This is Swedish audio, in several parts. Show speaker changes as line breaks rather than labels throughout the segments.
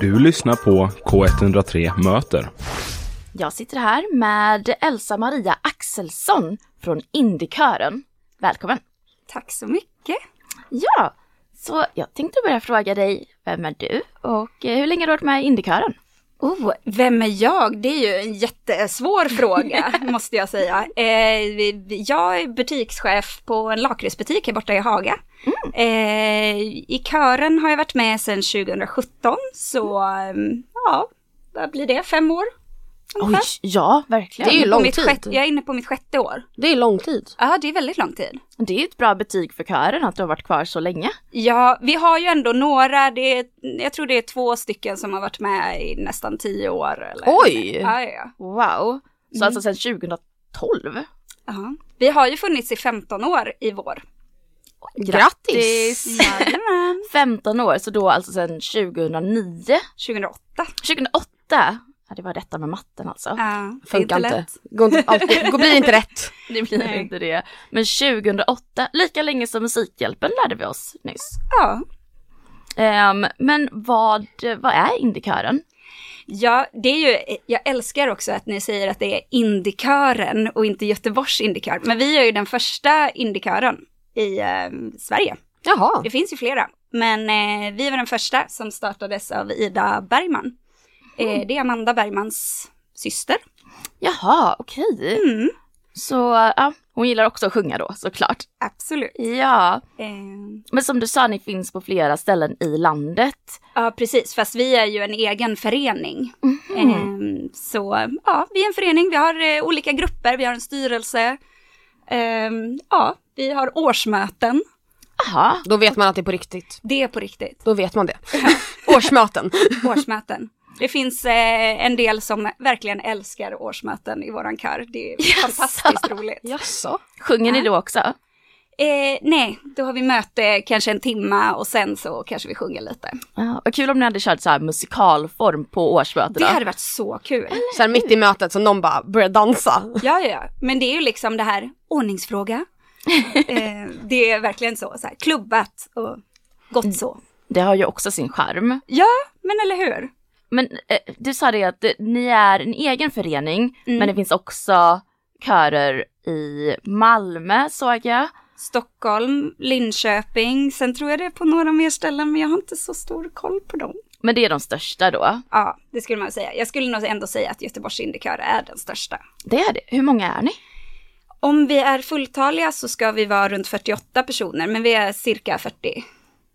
Du lyssnar på K103 Möter.
Jag sitter här med Elsa Maria Axelsson från Indiekören. Välkommen!
Tack så mycket.
Ja, så jag tänkte börja fråga dig, vem är du och eh, hur länge har du varit med i Indiekören?
Oh, vem är jag? Det är ju en jättesvår fråga, måste jag säga. Eh, vi- vi- jag är butikschef på en lakritsbutik här borta i Haga. Eh, I kören har jag varit med sedan 2017, så eh, ja, vad blir det? Fem år?
Oj,
ungefär?
ja verkligen.
Det är ju
På
lång
mitt
tid.
sjätte- jag är inne på mitt sjätte år.
Det är lång tid.
Ja, det är väldigt lång tid.
Det är ju ett bra betyg för kören att du har varit kvar så länge.
Ja, vi har ju ändå några, det är, jag tror det är två stycken som har varit med i nästan tio år. Eller?
Oj!
Ja, ja, ja.
Wow! Så alltså sedan 2012.
Ja. Vi har ju funnits i 15 år i vår.
Grattis!
Jajamän.
15 år, så då alltså sedan 2009.
2008.
2008! Ja, det var detta med matten alltså.
Ja, det är
Funkar inte.
lätt.
Går inte alltid, går, blir inte rätt.
Det blir
Nej.
inte det. Men 2008, lika länge som Musikhjälpen lärde vi oss nyss.
Ja.
Ehm, men vad, vad är Indiekören?
ja, det är ju, jag älskar också att ni säger att det är Indikören och inte Göteborgs Indikör. Men vi är ju den första Indikören i eh, Sverige.
Jaha.
Det finns ju flera, men eh, vi var den första som startades av Ida Bergman. Eh, det är Amanda Bergmans syster.
Jaha, okej.
Mm,
Så ja, hon gillar också att sjunga då såklart.
absolut.
Ja,
Eh,
men som du sa, ni finns på flera ställen i landet.
ja, precis, fast vi är ju en egen förening. Eh, så ja, vi är en förening, vi har eh, olika grupper, vi har en styrelse. Eh, ja, vi har årsmöten.
Jaha,
Då vet man att det är på riktigt.
Det är på riktigt,
Då vet man det. Årsmöten.
årsmöten. Det finns eh, en del som verkligen älskar årsmöten i våran kör. Det är fantastiskt roligt.
Jaså?
sjunger ni då också?
Eh, nej, då har vi möte kanske en timma och sen så kanske vi sjunger lite.
Ja, vad kul om ni hade kört så här musikalform på årsmötena.
Det hade varit så kul.
Sen mitt i mötet så någon bara börjar dansa.
Ja, ja, ja. Men det är ju liksom det här ordningsfråga. Eh, det är verkligen så, så här, klubbat och gott så.
Det har ju också sin charm.
Ja, men eller hur?
Men eh, du sa det att eh, ni är en egen förening, men det finns också körer i Malmö såg jag.
Stockholm, Linköping, sen tror jag det är på några mer ställen men jag har inte så stor koll på dem.
Men det är de största då.
Ja, det skulle man säga. Jag skulle nog ändå säga att Göteborgs Indiekör är den största.
Det är det. Hur många är ni?
Om vi är fulltaliga så ska vi vara runt 48 personer, men vi är cirka 40.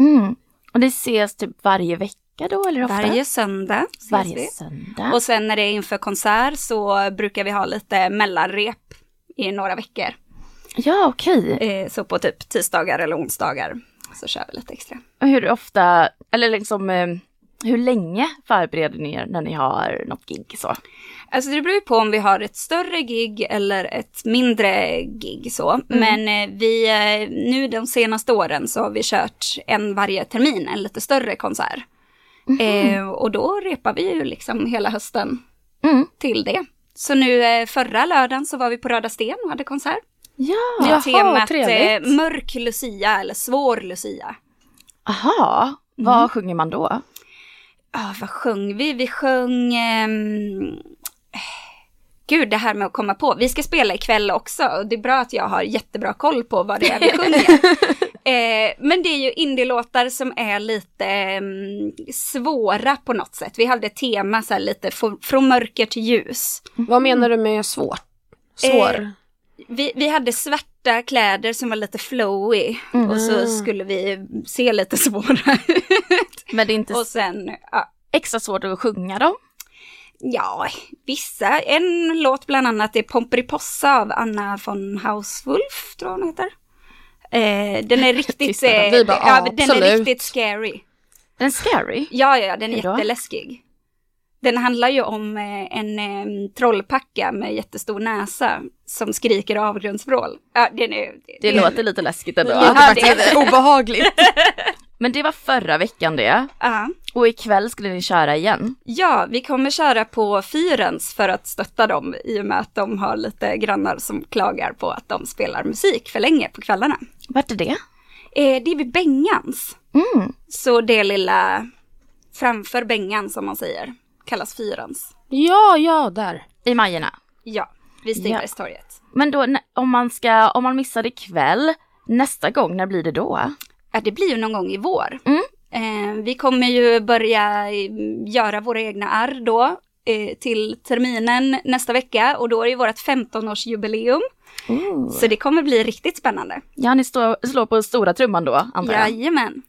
Mm. Och ni ses typ varje vecka då eller ofta?
Varje söndag ses
varje
vi.
söndag.
Och sen när det är inför konsert så brukar vi ha lite mellanrep i några veckor.
Ja okej.
Eh, så på typ tisdagar eller onsdagar så kör vi lite extra.
Och Hur ofta, eller liksom eh, hur länge förbereder ni er när ni har något gig så?
Alltså det beror ju på om vi har ett större gig eller ett mindre gig så. Men eh, vi, eh, nu de senaste åren så har vi kört en varje termin, en lite större konsert. Eh, och då repar vi ju liksom hela hösten
Mm.
till det. Så nu eh, förra lördagen så var vi på Röda Sten och hade konsert.
Ja.
med
Jaha,
temat eh,
trevligt.
mörk lucia eller svår lucia.
Aha. Vad sjunger man då?
Ja, vad sjöng vi? Vi sjöng... ehm, Gud, det här med att komma på. Vi ska spela ikväll också och det är bra att jag har jättebra koll på vad det är vi sjunger. eh, men det är ju indielåtar som är lite ehm, svåra på något sätt. Vi hade ett tema så här lite fr- från mörker till ljus.
Vad menar du med svår? Svår?
Eh, Vi, vi hade svarta kläder som var lite flowy
Mm.
och
Ah.
så skulle vi se lite svåra ut.
Men det är inte
och sen, ja,
extra svårt att sjunga dem.
Ja, vissa. En låt bland annat är Pomperipossa av Anna von Hauswulf, tror jag hon heter. Eh, den är riktigt,
Tystnaden.
eh,
Vi bara,
ja,
ja,
den är
absolut.
riktigt scary.
Är den scary?
Ja, ja, ja, den är
Hej då.
jätteläskig. Den handlar ju om eh, en eh, trollpacka med jättestor näsa som skriker avgrundsvrål. Ja, den är...
Det
den-
låter lite läskigt ändå.
det här
det-
faktiskt obehagligt.
Men det var förra veckan det.
Ja.
Och ikväll skulle ni köra igen.
Ja, vi kommer köra på Fyrens för att stötta dem i och med att de har lite grannar som klagar på att de spelar musik för länge på kvällarna.
Vart är det?
Eh, det är vid Bengans.
Mm.
Så det lilla framför Bengan som man säger. Kallas Fyrans.
Ja, ja, där.
I Majerna.
Ja, vid Stigbergstorget.
Men då nä- om man ska, om man missar det ikväll, nästa gång, när blir det då?
Ja, det blir ju någon gång i vår.
Mm.
Eh, vi kommer ju börja eh, göra våra egna arr då eh, till terminen nästa vecka och då är det ju vårt 15-årsjubileum. Så det kommer bli riktigt spännande.
Ja, ni står, slår på stora trumman då, antar jag.
Jajamän.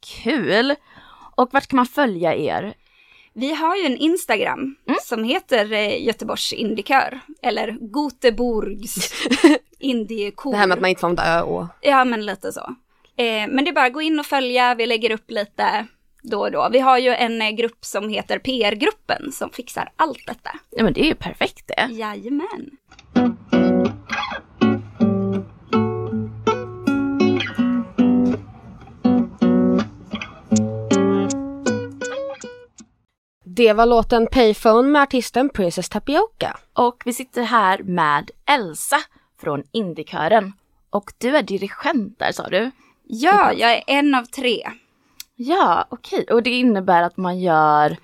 Kul! Och vart kan man följa er?
Vi har ju en Instagram
Mm.
som heter eh, Göteborgs Indikör eller Göteborgs Indiekor.
Det här med att man inte får använda ö och...
Ja, men lite så. Eh, men det är bara att gå in och följa, vi lägger upp lite då och då. Vi har ju en eh, grupp som heter PR-gruppen som fixar allt detta.
Ja, men det är ju perfekt det.
Jajamän.
Det var låten Payphone med artisten Princess Tapioca.
Och vi sitter här med Elsa från Indiekören. Och du är dirigent där sa du?
Ja, jag är en av tre.
Ja, okej. Och det innebär att man gör...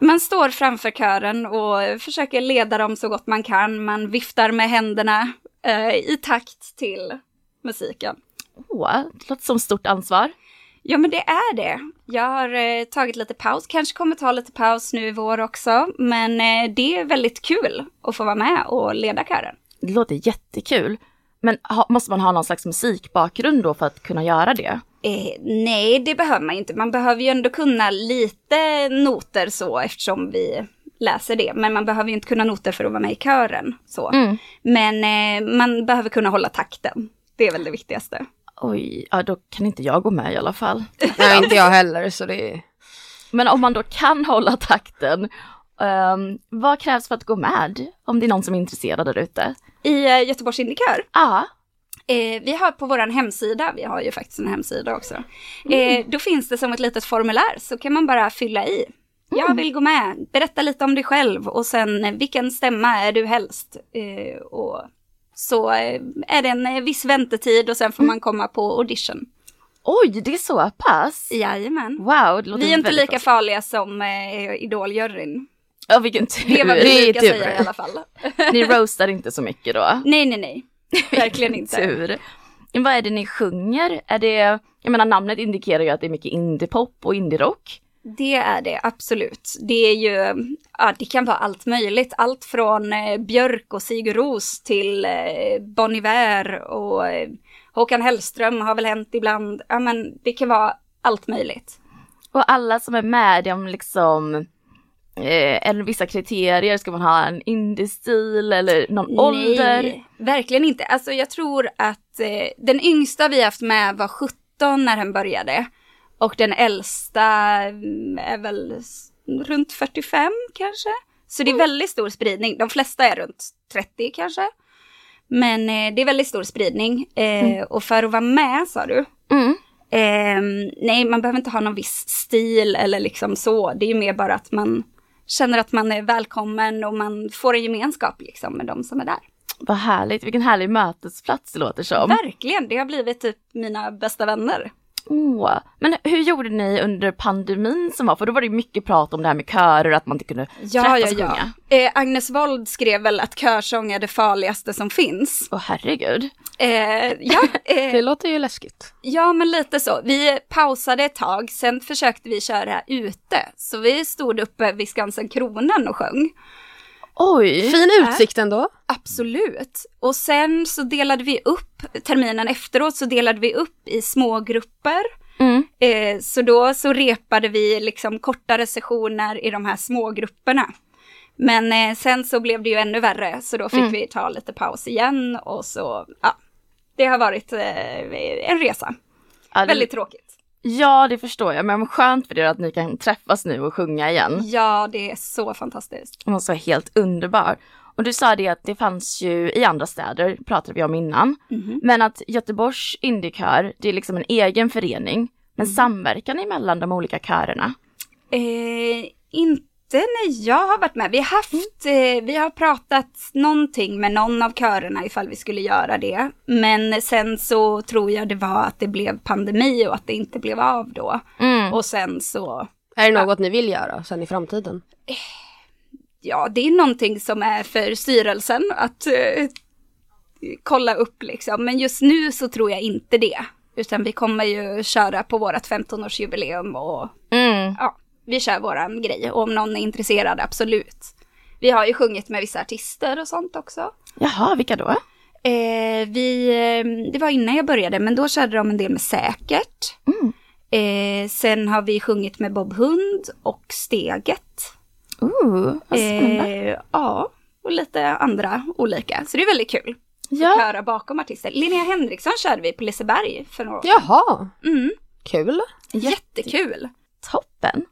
Man står framför kören och försöker leda dem så gott man kan. Man viftar med händerna eh, i takt till musiken.
Åh, det låter som stort ansvar.
Ja, men det är det. Jag har eh, tagit lite paus, kanske kommer ta lite paus nu i vår också. Men eh, det är väldigt kul att få vara med och leda kören.
Det låter jättekul. Men ha, måste man ha någon slags musikbakgrund då för att kunna göra det?
Eh, nej, det behöver man inte. Man behöver ju ändå kunna lite noter så eftersom vi läser det. Men man behöver ju inte kunna noter för att vara med i kören. Så.
Mm.
Men eh, man behöver kunna hålla takten. Det är väl det viktigaste.
Oj, ja då kan inte jag gå med i alla fall.
Nej, inte jag heller, så det är...
Men om man då kan hålla takten, ehm, vad krävs för att gå med? Om det är någon som är intresserad där ute.
I eh, Göteborgs Indiekör
Ja,
Eh, vi har på vår hemsida, vi har ju faktiskt en hemsida också,
Mm.
eh, då finns det som ett litet formulär så kan man bara fylla i.
Mm.
Jag vill gå med, berätta lite om dig själv och sen eh, vilken stämma är du helst? Eh, och så eh, är det en eh, viss väntetid och sen får
Mm.
man komma på audition.
oj det är så pass?
Jajamän.
Wow, det låter
Vi är inte
väldigt
lika
bra.
farliga som eh, idoljuryn.
Ja, vilken tur.
Det är vad vi
Det är
brukar
typ
tur.
säga i alla fall.
Ni roastar inte så mycket då?
Nej, nej, nej. Verkligen inte.
Tur. Men Vad är det ni sjunger? Är det, jag menar namnet indikerar ju att det är mycket indiepop och indierock.
Det är det, absolut. Det är ju, ja det kan vara allt möjligt. Allt från eh, Björk och Sigur Ros till eh, Bon Iver och eh, Håkan Hellström har väl hänt ibland. Ja men det kan vara allt möjligt.
Och alla som är med, de liksom, eh, eller vissa kriterier, ska man ha en indiestil eller någon ålder?
Nej, verkligen inte. Alltså jag tror att eh, den yngsta vi haft med var 17 när den började. Och den äldsta mm, är väl s- runt 45 kanske. Så det är väldigt stor spridning. De flesta är runt 30 kanske. Men eh, det är väldigt stor spridning. Eh, Och för att vara med sa du?
Mm.
Ehm, nej, man behöver inte ha någon viss stil eller liksom så. Det är ju mer bara att man känner att man är välkommen och man får en gemenskap liksom med de som är där.
Vad härligt, vilken härlig mötesplats det låter som.
Verkligen, det har blivit typ mina bästa vänner.
Åh. Men hur gjorde ni under pandemin som var? För då var det ju mycket prat om det här med körer, att man inte kunde
Ja, ja,
träffas och
ja.
sjunga.
Eh, Agnes Wold skrev väl att körsång är det farligaste som finns.
Åh herregud.
Eh, ja, eh,
Det låter ju läskigt.
ja, men lite så. Vi pausade ett tag, sen försökte vi köra ute. Så vi stod uppe vid Skansen Kronan och sjöng.
Oj.
Fin utsikt ändå.
Absolut. Och sen så delade vi upp, terminen efteråt så delade vi upp i små grupper.
Mm.
Eh, så då så repade vi liksom kortare sessioner i de här små grupperna. Men eh, sen så blev det ju ännu värre, så då fick
Mm.
vi ta lite paus igen och så, ja. Det har varit eh, en resa.
Ja, det,
Väldigt tråkigt.
ja, det förstår jag. Men skönt för er att ni kan träffas nu och sjunga igen.
Ja, det är så fantastiskt.
Hon måste vara helt underbar. Och du sa det att det fanns ju i andra städer, pratade vi om innan. Men att Göteborgs indiekör, det är liksom en egen förening. Men samverkan emellan de olika körerna.
Eh, inte när jag har varit med. Vi har haft, eh, vi har pratat någonting med någon av körerna ifall vi skulle göra det. Men sen så tror jag det var att det blev pandemi och att det inte blev av då.
Mm.
Och sen så
Är det något ni vill göra sen i framtiden?
ja, det är någonting som är för styrelsen att eh, kolla upp liksom. Men just nu så tror jag inte det. Utan vi kommer ju köra på vårat 15-årsjubileum och
Mm.
ja, vi kör våran grej. Och om någon är intresserad, absolut. Vi har ju sjungit med vissa artister och sånt också.
Jaha, vilka då?
Eh, vi, eh, det var innan jag började, men då körde de en del med Säkert.
Mm.
Eh, sen har vi sjungit med Bob Hund och Steget.
Ooh, vad spännande.
Eh, ja, och lite andra olika. Så det är väldigt kul att
ja.
höra bakom artister. Linnea Henriksson körde vi på Liseberg för några år
Jaha,
mm,
kul.
Jättekul!
Toppen.